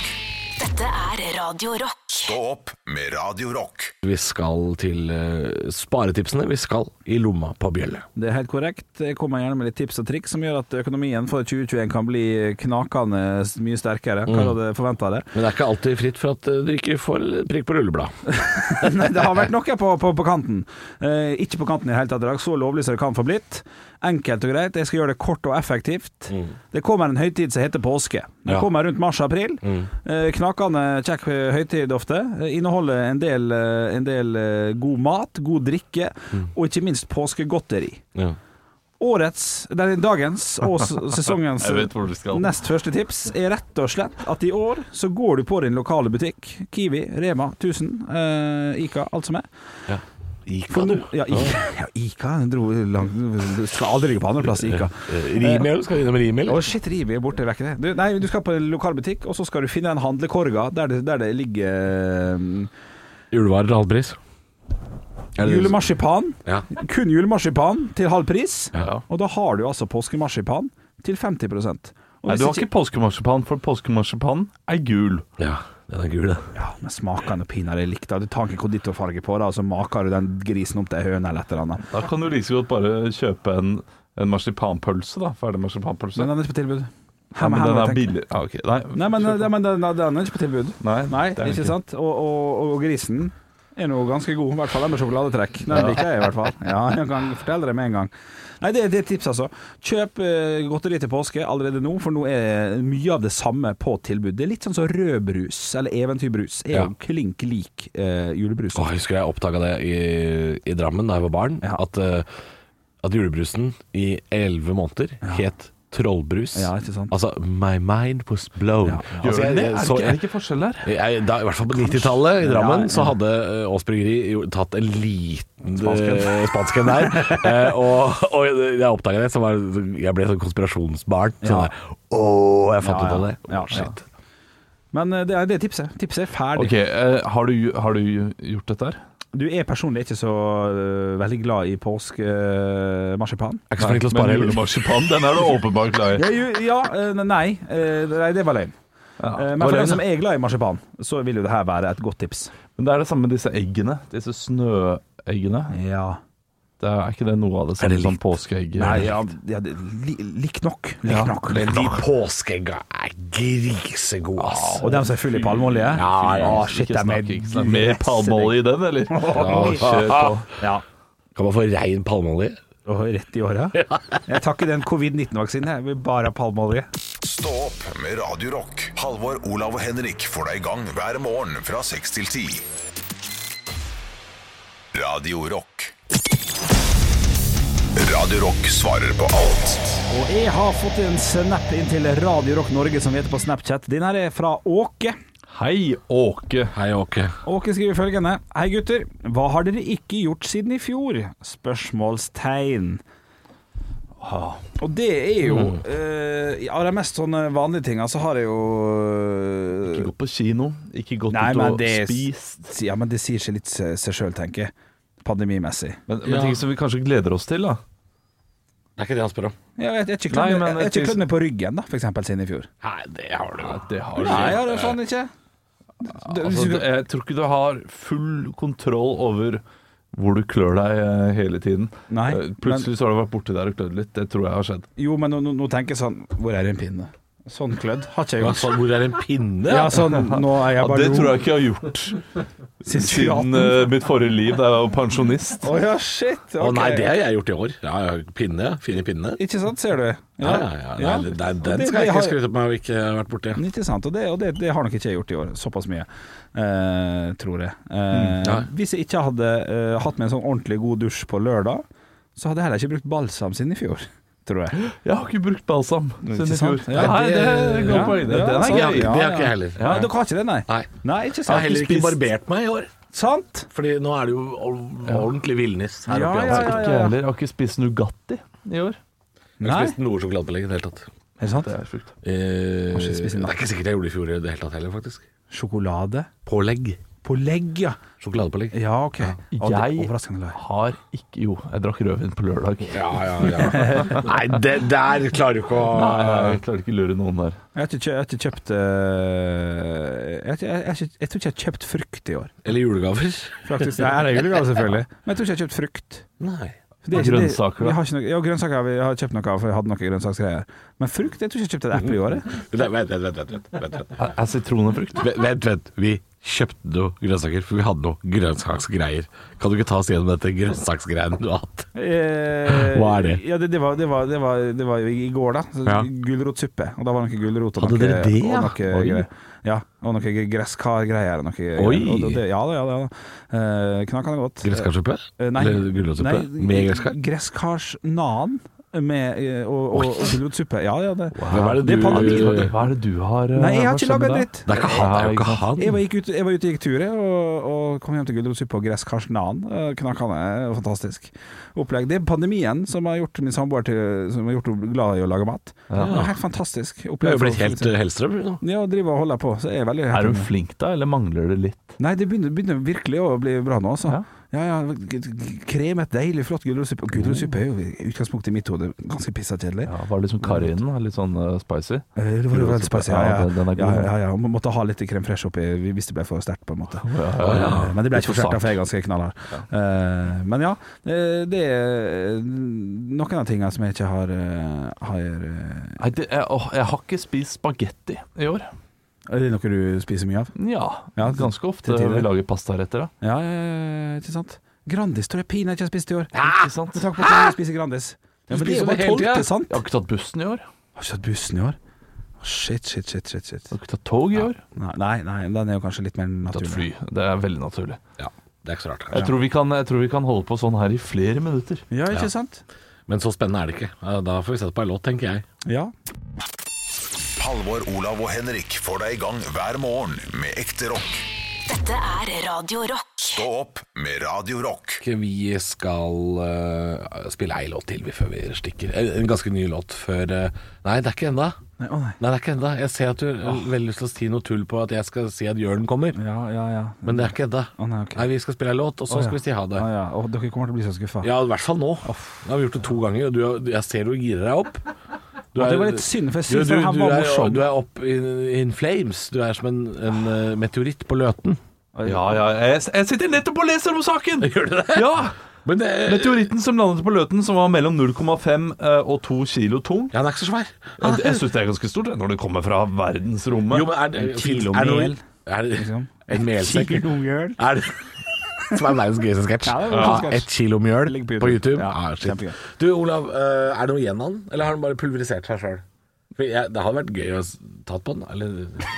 B: Dette er Radio Rock.
A: Stå opp med Radio Rock.
E: Vi skal til eh, sparetipsene. Vi skal i lomma på bjelle.
C: Det er helt korrekt. Jeg kommer gjerne med litt tips og triks som gjør at økonomien for 2021 kan bli knakende mye sterkere.
D: Mm.
C: Hva hadde forventa det?
E: Men det er ikke alltid fritt for at eh, du ikke får prikk på rullebladet.
C: Nei, det har vært noe på, på, på kanten. Eh, ikke på kanten i det hele tatt i dag. Så lovlig som det kan få blitt. Enkelt og greit. Jeg skal gjøre det kort og effektivt.
D: Mm.
C: Det kommer en høytid som heter påske. Den
E: Ja.
C: kommer rundt mars-april.
D: Mm.
C: Eh, knakende kjekk eh, høytid ofte. Eh, Inneholder en del, eh, en del eh, god mat, god drikke,
D: Mm.
C: og ikke minst påskegodteri. Årets, nei, dagens og s- sesongens
D: Jeg vet hvor du skal.
C: nest første tips er rett og slett at i år så går du på din lokale butikk. Kiwi, Rema, 1000, eh, Ica, alt som er.
E: Gikk
C: For
E: han,
C: nå- Ja, Ica, ja, Ica den dro langt Du skal aldri ligge på andreplass i Ica.
E: Eh, Rimel, skal vi innom Rimel?
C: Å, shit, Rivi er borte vekk det. Du, nei, du skal på en lokalbutikk, og så skal du finne den handlekorga der det, der det ligger um,
E: Julevarer til halv pris. Er det-
C: eh, julemarsipan.
E: Ja.
C: Kun julemarsipan til halv pris.
D: Ja.
C: Og da har du altså påskemarsipan til 50 og
D: Nei,
C: hvis
D: du har ikke påskemarsipan, for påskemarsipan er gul.
E: ja. Den er gul, den.
C: Ja, men smakene pinadø likt. da. Du tar ikke konditorfarge på det, og så maker du den grisen om til ei høne eller et eller annet.
D: Da kan du like så godt bare kjøpe en, en marsipanpølse, da. Ferdig marsipanpølse.
C: Men den er ikke på tilbud.
D: Ja,
C: Her- her
D: men den
C: må jeg
D: er
C: tenke.
D: billig. Ja, ok. Nei,
C: Nei, men, eh, nei, men den, den er ikke på tilbud.
D: Nei,
C: Nei,
D: det er
C: ikke
D: ikke.
C: sant? Og, og, og grisen er nå ganske god, i hvert fall den med sjokoladetrekk. Den liker jeg i hvert fall. Ja, jeg kan fortelle det med en gang. Nei, det, det er et tips, altså. Kjøp eh, godteri til påske allerede nå, for nå er mye av det samme på tilbud. Det er litt sånn som rødbrus, eller eventyrbrus, er
E: Ja.
C: jo klink lik eh, julebrus.
E: Åh, jeg husker jeg oppdaga det i, i Drammen da jeg var barn.
C: Ja.
E: At, eh, at julebrusen i elleve måneder het Trollbrus.
C: Ja, ikke sant?
E: Altså My mind was blown.
C: Ja.
D: Gjør
E: Altså, jeg,
D: den det? Er det
E: så,
D: ikke- er det
E: jeg,
D: ikke forskjell der?
E: jeg, da, I hvert fall på 90-tallet i Drammen
C: Ja,
E: så
C: ja.
E: hadde eh, Aas Bryggeri jo tatt en liten
D: Spansk en.
E: eh, spansk en der. Eh, og, og jeg oppdaga det, så var, jeg ble sånn konspirasjonsbarn. Sånn
C: Ja.
E: der, Åh, jeg fant
C: Ja, ja.
E: ut av det.
C: Ja,
E: Shit.
C: Men eh, det er det er tipset. Tipset er ferdig.
D: Ok, eh, har, du, har du gjort dette her?
C: Du er personlig ikke så eh, veldig glad i eh, påskemarsipan.
E: Jeg er ikke så flink til å spare
D: Men
E: heller.
D: julemarsipan, den er du åpenbart glad i.
C: Ja, ju- ja eh, nei, eh, nei, det var løgn. Eh, Men
D: var
C: for
D: løgn,
C: dem som er glad i marsipan, så vil jo det her være et godt tips.
D: Men det er det samme med disse eggene. Disse snøeggene.
C: Ja.
D: Det er ikke det noe av det
E: Er
D: samme
E: det
D: som
E: likt?
D: påskeegg?
C: Nei, ja, ja det- li, Likt nok. Likt
D: Ja,
C: nok.
E: Men de påskeegga er grisegode, ass.
C: Og dem som er fulle i palmeolje?
E: Ja, ja.
C: Å, shit,
D: Ikke
C: dem er
D: snakk, ikke snakk. Mer palmeolje i den, eller?
C: Oi.
D: kjør på.
C: Ja.
E: Kan man få rein palmeolje?
C: Og rett i åra. Jeg tar ikke den covid-19-vaksinen, jeg vil bare ha palmeolje.
A: Stå opp med Radio Rock. Halvor, Olav og Henrik får deg i gang hver morgen fra 6 til 10. Radio Rock. Radio Rock svarer på alt.
C: Og jeg har fått en snap inn til Radio Rock Norge, som vi heter på Snapchat. Den her er fra Åke.
D: Hei, Åke.
E: Hei, Åke.
C: Åke skriver følgende Hei gutter, hva har dere ikke gjort siden i fjor? Spørsmålstegn Ah. Og det er jo
D: Mm.
C: eh, Av de mest sånne vanlige tinga så har jeg jo
D: Ikke gått på kino, ikke gått
C: Nei,
D: ut
C: men
D: og
C: det-
D: spist.
C: Ja, men det sier seg litt se- seg sjøl, tenker jeg. Pandemimessig.
D: Men, men ting som vi kanskje gleder oss til, da.
E: Det er ikke det han spør om.
C: Jeg vet- jeg har ikke
D: Nei,
C: klødd
D: men
C: meg- jeg har ikke
D: jeg
C: klødd meg på ryggen, da, for eksempel, siden i fjor.
E: Nei, det har du.
D: Det har du.
C: Nei, jeg har det faen ikke. Det-
D: Altså,
C: hvis
D: det-
C: du-
D: jeg tror ikke du har full kontroll over hvor du klør deg eh, hele tiden.
C: Nei,
D: Eh, Plutselig så har du vært borti der og klødd litt. Det tror jeg har skjedd.
C: Jo, men nå, nå nå tenker jeg sånn Hvor er en pinne? Sånn klødd har ikke jeg
E: Hva,
C: gjort.
E: sånn, hvor er en pinne?
C: Ja, sånn, nå er
D: Ja,
C: jeg bare
D: det
C: lo
D: tror jeg ikke jeg har gjort
C: siden
D: siden
C: 2018.
D: eh, mitt forrige liv da jeg var pensjonist.
C: Å ja, shit.
E: Å nei,
C: ok.
E: det har jeg gjort i år. Ja, ja, pinne. Fine pinne.
C: Ikke sant, ser du?
E: Ja, ja, ja. Nei, det- det-
C: Og
E: den
C: det-
E: skal jeg
C: det har-
E: ikke skryte på meg å ikke ha vært borti.
C: Ikke sant, og, det, og det, det har nok ikke jeg gjort i år. Såpass mye, eh, tror jeg. Eh,
E: Mm, ja.
C: Hvis jeg ikke hadde eh, hatt meg en sånn ordentlig god dusj på lørdag, så hadde jeg heller ikke brukt balsam siden i fjor, tror jeg.
D: Jeg har ikke brukt balsam siden i
C: Ikke sant?
D: fjor.
C: Ja,
D: Nei, det er et godt
C: ja,
D: poeng.
C: ja,
D: Den
C: så-
D: er
E: ja,
D: gøy.
E: det har ikke jeg heller.
C: Ja, Dere har ikke det, nei?
E: Nei.
C: ikke
E: Jeg har
C: sant.
E: heller ikke
D: spist-
E: barbert meg i år.
C: Sant?
E: Fordi nå er det jo ord- ordentlig villnis her
C: Ja,
E: oppe i
C: ja,
D: Ikke
C: ja.
E: ansiktet.
D: jeg heller. Jeg har ikke spist Nugatti i år.
E: Jeg har
C: Nei.
E: ikke spist noe sjokoladebelegg i det hele tatt.
C: Er det sant?
D: Det er sjukt.
E: Eh,
C: Kanskje jeg spiser
E: det er ikke sikkert jeg gjorde det i fjor i det hele tatt heller, faktisk.
C: Sjokolade
E: Pålegg.
C: på legg, ja.
E: Sjokoladepålegg.
C: Ja, OK. Ja, det er
D: Jeg-
C: Overraskende lei.
D: Har ikke Jo, jeg drakk rødvin på lørdag.
E: Ja, ja, ja. Nei, det der klarer du ikke å
D: Jeg klarer ikke å lure noen der.
C: Jeg har ikke, kjø- jeg har ikke kjøpt eh, jeg, har ikke- jeg, har ikke- jeg tror ikke jeg har kjøpt frukt i år.
E: Eller julegaver.
C: Faktisk. Nei, det er julegave, selvfølgelig. Men jeg tror ikke jeg har kjøpt frukt.
E: Nei.
C: For det er
D: Og
C: ikke- det-
D: grønnsaker, da?
C: Jeg har ikke noe, ja, grønnsaker har vi- jeg har kjøpt noe av, for jeg hadde noe grønnsaksgreier. Men frukt Jeg tror ikke jeg kjøpte et eple i året.
E: Vent, vent, vent. vent, vent, vent, vent.
D: Er, er sitron en frukt?
E: Vent, vent, vent. Vi kjøpte noe grønnsaker, for vi hadde noe grønnsaksgreier. Kan du ikke ta oss gjennom dette grønnsaksgreiene du har hatt?
C: Eh,
E: Hva er det?
C: Ja, det, det, var, det, var, det, var, det var jo i går, da. Så
E: Ja.
C: Gulrotsuppe. Og da var det noe gulrot og noe,
E: Hadde dere det, ja?
C: og noe,
E: Oi.
C: greier. ja? Og noe gresskargreier. og Noe,
E: Oi.
C: Og det, ja da, ja da. Eh, Knakende godt.
E: Gresskarsuppe?
C: Eh, nei.
E: Eller gulrotsuppe?
C: Nei, eh,
E: Med gresskar?
C: Gresskarsnan med, eh, og, og, og gulrotsuppe. Ja, ja, det.
E: Hva er det
C: Det
E: du
C: padler ikke,
E: Det
D: Hva er det du har eh,
C: Nei, jeg har
D: hva
C: ikke
D: skjer med
C: laget
D: deg?
C: dritt.
E: er ikke han, det er jo
D: Ja,
E: ikke han.
C: Jeg var, gikk ut, jeg var ute og gikk tur jeg, og, og kom hjem til gulrotsuppe og gresskarsen annen. Eh, Knakende eh, fantastisk opplegg. Det er pandemien som har gjort min samboer til, som har gjort henne glad i å lage mat. Det var helt fantastisk
E: Du
C: opplegg.
E: er jo blitt
C: for-
E: helt eh, Hellstrøm nå.
C: ja, og driver og holder på, så jeg er veldig
D: Er
C: happy
D: hun
C: med det.
D: flink da, eller mangler det litt?
C: Nei, det begynner, begynner virkelig å bli bra nå, altså.
D: Ja.
C: Ja, ja, g- g- kremet, deilig, flott gulrotsuppe. Og Gulrotsuppe er jo i utgangspunktet i mitt hode ganske pissa kjedelig.
D: Ja, var det liksom karri i den? da? Litt sånn eh, spicy?
C: Eh, Det var jo veldig spicy. Ja, ja,
D: Ja, den- den er god.
C: ja, ja, ja. Man måtte ha litt krem fresh oppi hvis det ble for sterkt, på en måte. Eh, Men det ble
D: Litt
C: ikke for
D: for
C: sterkt,
D: sart.
C: for jeg er ganske knallhard. Eh, Men ja, eh, det er noen av tingene som jeg ikke har, eh, har eh,
D: Nei, det, jeg, åh, jeg har ikke spist spagetti i år.
C: Er det noe du spiser mye av?
D: Ja,
C: Ja,
D: ganske
C: til
D: ofte
C: tider.
D: vi lager pastaretter da.
C: Ja, ja, ja, ikke sant? Grandis tror jeg pinadø ikke har spist i år.
D: Ikke sant?
C: Ah! Med tanke på at jeg spiser Grandis. Ja, men det er jo
E: spiser det
C: bare
E: hele tiden.
C: tolke, sant?
D: Jeg har ikke tatt bussen i år. Jeg
C: Har ikke tatt bussen i år. Shit, shit, shit. shit, shit.
D: har ikke tatt tog i år. Jeg
C: Nei, nei, nei, den er jo kanskje litt mer
D: har tatt
C: naturlig.
D: fly. Det er veldig naturlig.
E: Ja, det er ikke så rart,
D: Jeg
E: kanskje.
D: tror vi kan, jeg tror vi kan holde på sånn her i flere minutter.
C: Ja, ikke sant?
E: Men så spennende er det ikke. Eh, Da får vi sette på en låt, tenker jeg.
C: Ja.
A: Halvor, Olav og Henrik får deg i gang hver morgen med ekte rock.
B: Dette er Radio Rock.
A: Stå opp med Radio Rock.
E: Ikke Vi skal eh, spille ei låt til vi før vi stikker. En en ganske ny låt før eh, Nei, det er ikke enda.
C: Nei, å nei.
E: Nei, det er ikke enda. Jeg ser at du har veldig lyst til å si noe tull på at jeg skal si at Jørn kommer,
C: Ja, ja, ja.
E: men det er ikke enda.
C: Å nei, ok.
E: Nei, vi skal spille ei låt, og så skal vi si ha det.
C: Ja, ja. Og dere kommer til å bli så skuffa.
E: Ja, i hvert fall nå. Nå har vi gjort det to ganger, og du, er- jeg ser du girer deg opp. Du
C: Ja, det var litt synd, for jeg synes
E: du,
C: den her
E: du,
C: var
E: er-
C: morsom.
E: Du er opp in, in flames. Du er som en, en eh, meteoritt på Løten.
D: Ja, ja, jeg, jeg sitter nettopp og leser om saken!
E: Gjør du det?
D: Ja!
E: Men det
D: Meteoritten som landet på Løten, som var mellom 0,5 eh, og 2 kilo tung.
E: Ja, den er ikke så svær.
C: Ah,
D: Jeg, jeg syns det er ganske stort det, når det kommer fra verdensrommet.
E: Jo, men er det
C: En kilo
E: er det noe-
C: mel,
E: Er det
C: liksom.
E: En melsekk?
C: Kilomjøl.
E: Er det som er verdens gøyeste sketsj.
C: Ja, det er verdens
E: Ja,
C: sketsj.
E: ett kilo mjøl
C: Ligger
E: på YouTube.
C: Ja,
E: Ah, shit.
C: kjempegøy.
E: du, Olav, eh, er det noe igjen av den, eller har han bare pulverisert seg sjøl? Det hadde vært gøy å s- tatt på den. Eller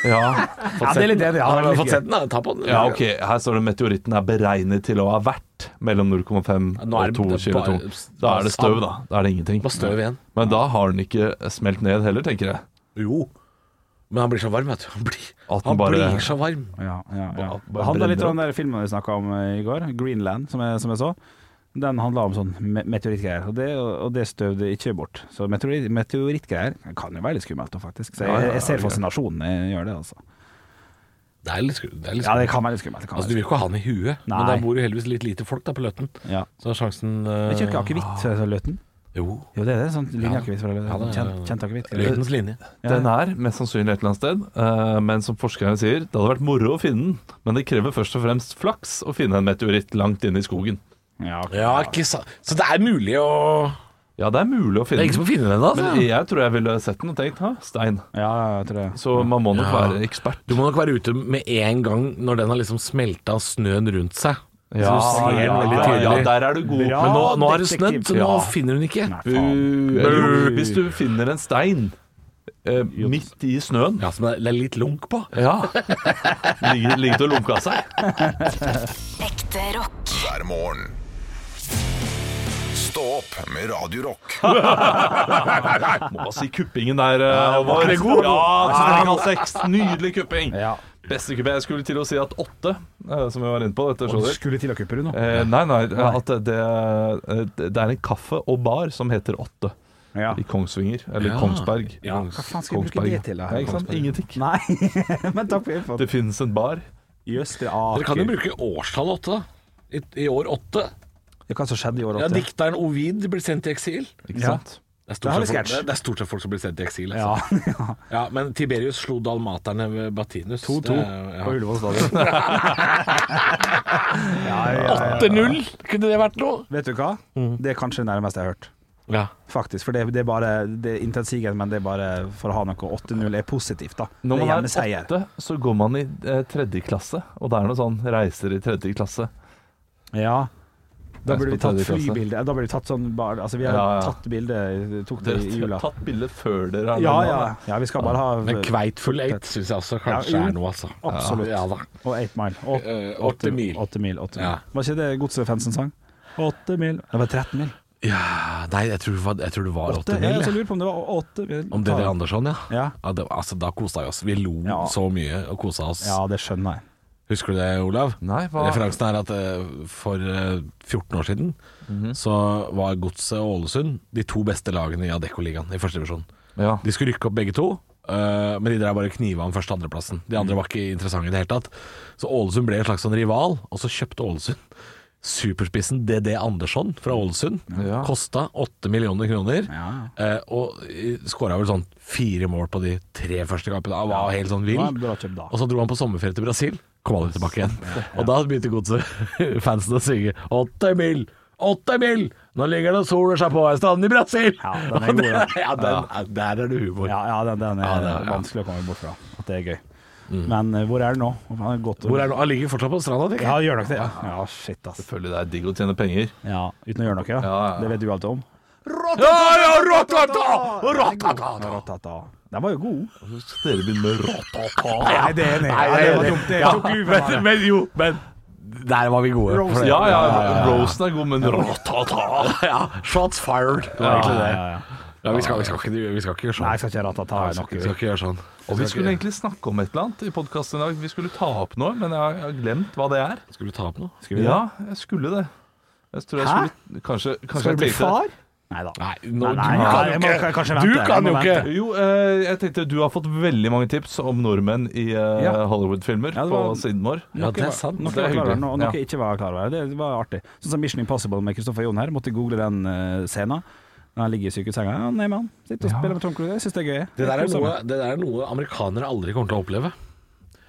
D: Ja.
E: fått
C: det er litt det, det hadde vært litt
E: Fått sett den, da. Ta på den.
D: ja, ok, her står det meteoritten er beregnet til å ha vært mellom 0,5
E: Nå er det
D: og 2 kilo
E: bare-
D: tung. Da er det støv, da. Da er det ingenting.
E: Bare støv igjen.
D: Men da har den ikke smelt ned heller, tenker jeg.
E: Jo. Men han blir så varm, vet du. Han blir,
D: At den
E: han
D: bare-
E: blir så varm.
C: Ja, ja, ja.
D: Bare-
C: Det
D: bare
C: handla litt
D: brenner
C: om den der filmen vi snakka om eh, i går, 'Greenland', som jeg, som jeg så. Den handla om sånn me- meteorittgreier, og det, og det støv det ikke bort. Så meteorit, meteorittgreier kan jo være litt skummelt, da, faktisk. Så
D: Ja, ja,
C: jeg,
D: ja,
C: jeg ser
D: det er
C: fascinasjonen jeg gjør det, altså.
E: Det er litt skummelt. Sku
C: Ja, det kan være litt skummelt. Det kan
E: Altså, du
C: være
E: vil
C: litt
E: ikke ha han i huet, men
C: Nei.
E: der bor jo heldigvis litt lite folk da på Løten.
C: skummelt. Ja.
E: Så sjansen
C: Men
E: uh,
C: kjører ikke akevitt, eh, Løten?
E: Jo.
C: Jo, det er det. Sånn linjeakevitt fra
E: Ja,
C: Løten.
E: det-
C: Kjent, kjent akevitt.
E: Løtens linje.
C: Ja.
D: Den er mest sannsynlig et eller annet sted, eh, men som forskerne sier, det hadde vært moro å finne den, men det krever først og fremst flaks å finne en meteoritt langt inne i skogen.
C: Ja, ok.
E: Ja, ikke sa Så det er mulig å
D: Ja, det er mulig
E: Det
D: å finne
E: er ikke som å finne den ennå.
D: Men
E: Altså.
D: jeg tror jeg ville sett den og tenkt ha, stein.
C: Ja, jeg tror det.
D: Så man må nok
E: Ja.
D: være ekspert.
E: Du må nok være ute med en gang når den har liksom smelta snøen rundt seg.
D: Ja,
E: så du ser den veldig
D: ja,
E: tydelig.
D: ja, der er du god.
C: Bra.
E: Men nå, nå har det
C: detektiv.
E: snødd, så nå
D: Ja.
E: finner hun ikke.
C: Nei, faen.
D: Bu-
E: Bø.
D: Jo, Hvis du finner en stein eh, midt i snøen
E: Ja, som det er litt lunk på.
D: Ja. Ligger, ligger til å lunke av seg.
B: Ekte rock.
A: hver morgen. Stå opp med Radio Rock.
D: Må bare si kuppingen der, eh, Halvor.
E: det god?
D: Ja, streng av seks. Nydelig kupping.
C: Ja.
D: Beste kupping. Jeg skulle til å si at åtte, eh, som vi var inne på dette
C: Og du
D: showet.
C: skulle til å kuppe du nå?
D: Eh, nei, nei. At det, eh, det er en kaffe og bar som heter Åtte
C: Ja.
D: i Kongsvinger. Eller
E: Ja.
D: Kongsberg.
E: Ja.
C: Hva faen skal jeg bruke
D: Kongsberg.
C: det til? da?
D: Ja, ikke sant? Ingenting.
C: Nei, men takk for infoen.
D: Det finnes en bar.
C: Jøss, det er
E: Dere
C: Aker.
E: kan jo bruke årstallet åtte, da. I, I år åtte.
C: Ja, Hva som skjedde i år
E: Ja,
C: 80?
E: dikteren Ovid blir sendt i eksil.
D: Ikke
C: Ja.
D: sant?
E: Det er
C: Da har
E: stort
C: vi
E: sett folk,
C: sketsj.
E: det- det er stort sett folk som blir sendt i eksil.
C: Ja,
E: Altså.
C: ja.
E: Ja. Men Tiberius slo dalmaterne ved Batinus.
C: 2-2
E: Det er- ja.
C: på Ullevål stadion. ja, ja, ja.
E: 8-0, kunne det vært noe?
C: Vet du hva? Det er kanskje det nærmeste jeg har hørt.
E: Ja.
C: Faktisk, for det, det er bare Det er intetsigende, men det er bare for å ha noe. 8-0 er positivt, da.
D: Når
C: det er
D: man er
C: gjerne seier.
D: åtte, så går man i eh, tredje klasse. Og det er noe sånn reiser i tredje klasse.
C: Ja. Da
D: Jeg
C: burde vi
D: skal ta
C: tatt
D: det i klasse.
C: flybilde. Da burde vi tatt sånn bar, Altså, vi har
D: Ja, ja.
C: tatt bilde eh, Tok det
D: Dere
C: i
D: har
C: jula.
D: tatt bilde før dere er
C: Ja,
D: landet.
C: ja. ja vi skal bare
E: Men
C: ha
E: Kveitfull eight syns jeg også
C: Ja,
E: kanskje
C: jo.
E: er noe, altså.
C: Absolutt.
E: Ja, da.
C: Og 8 Mile. Og,
E: Eh, åtte mil.
C: Åtte mil, åtte mil.
E: Ja.
C: Var ikke det Godset Fansen sang? Åtte mil Det var 13 mil.
E: Ja, nei, jeg tror, det var- jeg tror det var
C: Åtte,
E: åtte
C: jeg
E: mil.
C: også
E: jeg.
C: lurer på om det var åtte mil.
E: Om det der Andersson, ja.
C: Ja.
E: ja det, altså, da kosa vi oss. Vi lo
C: Ja.
E: så mye og kosa oss.
C: ja, det skjønner jeg.
E: Husker du det, Olav?
D: Nei, hva
E: Referansen er at eh, for eh, 14 år siden
C: Mhm.
E: så var Godset og Ålesund de to beste lagene i Adeccoligaen i første divisjon.
D: ja.
E: De skulle rykke opp begge to, eh, men de drev bare kniva om første- og andreplassen. De
C: Mm.
E: andre var ikke interessante i det hele tatt. Så Ålesund ble en slags sånn rival, og så kjøpte Ålesund superspissen DD Andersson fra Ålesund.
D: Ja.
E: Kosta 8 millioner kroner.
C: Ja.
E: eh, og skåra vel sånn fire mål på de tre første kampene. Han var helt sånn
C: Det
E: vill.
C: var bra kjøpt da.
E: Og så dro han på sommerferie til Brasil, kom aldri tilbake igjen. Og da begynte godset fansen å synge 'Åtte mil! Åtte mil! Nå ligger det og soler seg på ei strand i Brasil!'
C: Ja, den er god,
E: Og det- ja, den, er- der er det humor.
C: Ja, ja den, den er
E: Ja, det er- ja. Mm.
C: vanskelig å komme bort fra. At det er gøy. Men eh, hvor er den nå? Han er godt å-
E: Hvor er det? Han ligger fortsatt på stranda, tenker
C: Ja,
E: jeg.
C: gjør nok det. Ja, ja shit, ass.
D: Selvfølgelig det er digg å tjene penger.
C: Ja, uten å gjøre noe? Ja.
D: Ja, ja.
C: Det vet du alt om?
E: Ja, ja, ratata! Ratata!
C: Ratata. Den var jo god.
D: Så dere begynner med ratata.
C: Nei, det er enig. Ja, det var dumt. Det
E: Ja,
C: tok luven
E: men,
C: av
E: men jo, men der var vi gode.
C: Rosen.
E: For det-
D: Ja, ja, rosen er god, men ratata
E: ja, shots fired. Det var egentlig det. Ja, vi skal, vi skal ikke, vi skal ikke gjøre sånn.
C: Nei, jeg skal ikke ratata. er nok-
E: vi skal ikke gjøre sånn.
D: Og vi skulle egentlig snakke om et eller annet i podkasten i dag. Vi skulle ta opp noe, men jeg har- jeg har glemt hva det er.
E: Skulle du ta opp noe?
C: vi det?
D: Ja, jeg skulle det. Jeg tror jeg
C: Hæ?
D: skulle Kanskje, kanskje
C: Skal
D: jeg
C: du bli
D: tenkte-
C: far? Nei da.
E: Nei, nå-
C: Nei,
E: du
C: nei,
E: kan jo
C: jeg må
E: ikke.
C: kanskje
E: du
C: vente. Jeg
E: kan
C: må
E: jo
C: vente.
E: ikke.
D: Jo, eh, jeg tenkte du har fått veldig mange tips om nordmenn i eh,
C: Ja.
D: Hollywood-filmer
C: Ja, det var-
D: på siden vår.
E: Ja, det er sant.
C: Noe
D: Det er
C: jeg var klar over,
D: hyggelig.
C: noe noe
D: Ja.
C: jeg ikke var klar over. Det var artig. Sånn som Mission Impossible med Kristoffer Jon her. Måtte google den eh, scenen. Når han ligger i sykehussenga. Ja, nei, mann. Sitter og spiller med Tom Cruise. Jeg syns det er gøy.
E: Det der, er
C: koser
E: noe,
C: meg.
E: det der er noe amerikanere aldri kommer til å oppleve.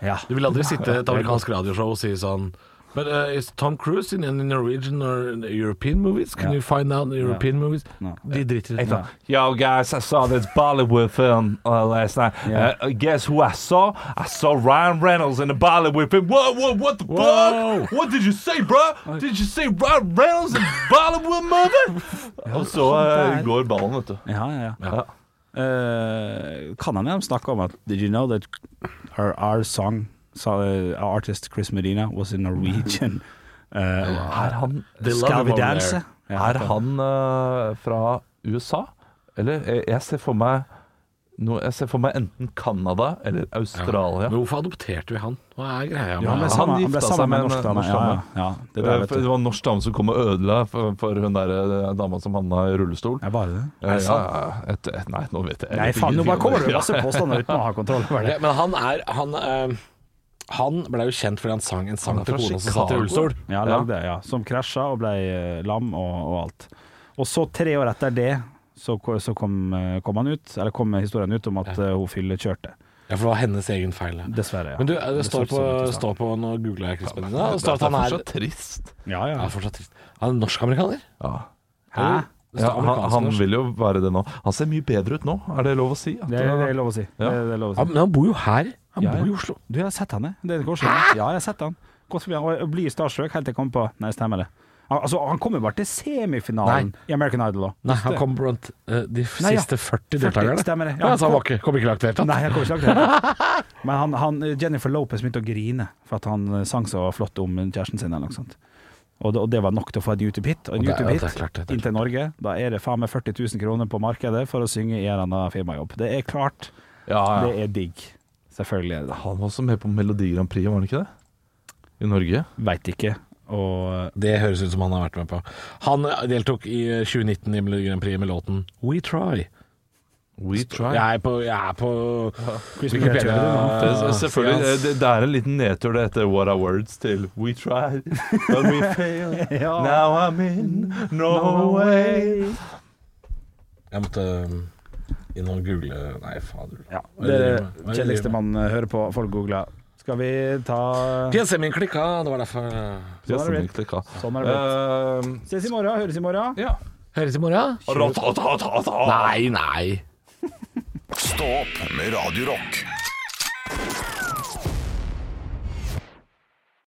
C: Ja.
E: Du vil aldri sitte i et amerikansk radioshow og si sånn But uh, is Tom Cruise in any Norwegian or European movies? Can
C: Ja.
E: you find out European movies?
C: No.
E: De driter i det.
C: Ja.
D: Yo, guys, I saw this Bollywood film uh, last night.
C: Yeah.
D: Uh, guess who I saw? I saw Ryan Reynolds in the Bollywood film. Whoa, whoa, what the
E: Whoa.
D: fuck? What did you say, bro? Did you say Ryan Reynolds in Bollywood, mother? Og så
C: sånn
D: uh,
C: der.
D: går ballen, vet du.
C: Ja, ja, ja.
D: Ja.
C: Eh, kan han jo snakke om at Did you know that our, our song so, uh, Our artist Chris Medina was in Norwegian? Uh,
D: Er han,
E: They love
C: skal
E: him
C: vi
E: over
C: danse?
E: there.
C: Ja,
D: er han uh, fra USA? Eller jeg, jeg ser for meg no, jeg ser for meg enten Canada eller Australia.
E: Men hvorfor adopterte vi han? Hva er greia med
C: Ja, han ble
E: han?
D: sa-
C: sammen, han ble
D: gifta
C: sammen
D: seg
C: med
D: med
C: en norsk
D: en
C: dame.
D: norsk
C: Ja, ja.
D: dame.
C: ja, det der
D: Eh,
C: vet
D: for Det
C: du.
D: var en norsk dame som kom og ødela for, for hun der eh, dama som havna i rullestol. Eh,
C: Ja, var det det?
D: Ja, ja, et, et, nei, nå vet jeg
C: Nei, faen, nå
D: ingenting
C: bare
D: om
C: kommer
D: det.
C: det masse påstander uten å ha kontroll over det.
E: Ja, Men han er Han, eh, han ble jo kjent fordi han sang en sang
D: Han er
E: til
D: fra
E: kona som
D: Chicago.
E: satt i rullestol.
C: Ja, lagde, ja. Som krasja og ble eh, lam og, og alt. Og så tre år etter det så, ko- så kom, eh, kom han ut, eller kom historien ut om at eh, hun fyllekjørte.
E: Ja, for det var hennes egen feil. ja.
C: Dessverre. Ja.
E: Men du, eh, det står
C: så-
E: på,
C: så- så-
E: står på Nå googla jeg Chris Medina.
D: Ja,
E: Det står at han
D: er
E: er
D: fortsatt trist.
C: ja,
E: Ja,
C: ja.
E: fortsatt trist. Han er norsk-amerikaner.
D: Ja.
C: Hæ?
E: står
D: Ja, han,
E: amerikansk
D: han
E: norsk.
D: vil jo være det nå. Han ser mye bedre ut nå, er det lov å si? At
C: Det er, det er lov å si.
D: Ja.
C: Det er, det er lov å
E: Ja,
C: si.
E: men han bor jo her. Han
C: Ja, ja.
E: bor i Oslo.
C: Du, jeg har sett han, jeg. Det er et år siden. Ja, jeg har sett han. Gått forbi han og jeg blir starstruck helt til jeg kommer på Nei, stemmer det. Han- Altså, han kommer bare til semifinalen i American Idol òg.
E: Nei, han kom blant eh, de f-
C: Nei, ja.
E: siste
C: 40,
E: 40 deltakerne.
C: stemmer det. Ja,
E: Ja, så han var ikke, kom ikke langt i det hele tatt.
C: Nei, jeg kommer ikke til det. Men han, han, Jennifer Lopez begynte å grine for at han eh, sang så flott om kjæresten sin. Eller noe sånt. Og, det, og det var nok til å få en YouTube-hit. Og en
E: Og det er- ja, det er klart det, det
C: YouTube-hit
E: er
C: inn til Norge, da er det faen meg 40 000 kroner på markedet for å synge i en eller annen firmajobb. Det er klart.
D: Ja, ja.
C: Det er digg. Selvfølgelig er det det.
D: Han var også med på Melodi Grand Prix, var han ikke det? I Norge.
C: Veit ikke. Og eh,
E: Det høres ut som han har vært med på. Han eh, deltok i eh, 2019 i Melodi Grand Prix med låten We Try.
D: We try.
E: Jeg er på, jeg er på
C: Wikipedia,
D: Det, er selvfølgelig,
E: Ja.
D: det, det er en liten nedtur det etter What Are Words til We tried, but we failed.
C: Ja.
D: Now I'm in Norway.
E: Jeg måtte eh, inn og google Nei, fader.
C: ja,
E: Hva
C: det
E: er
C: er
E: det med?
C: det
E: Hva er det
C: kjedeligste
E: med?
C: man eh, hører på. Folk googler. Skal vi ta
E: PC-en min klikka, det var derfor
C: Sånn er det blitt. Sånn er det blitt. Ses i morgen. Høres i morgen.
D: Ja.
E: Høres i morgen.
D: Ra-ta-ta-ta-ta.
E: Nei, nei.
A: Stå opp med Radio Rock.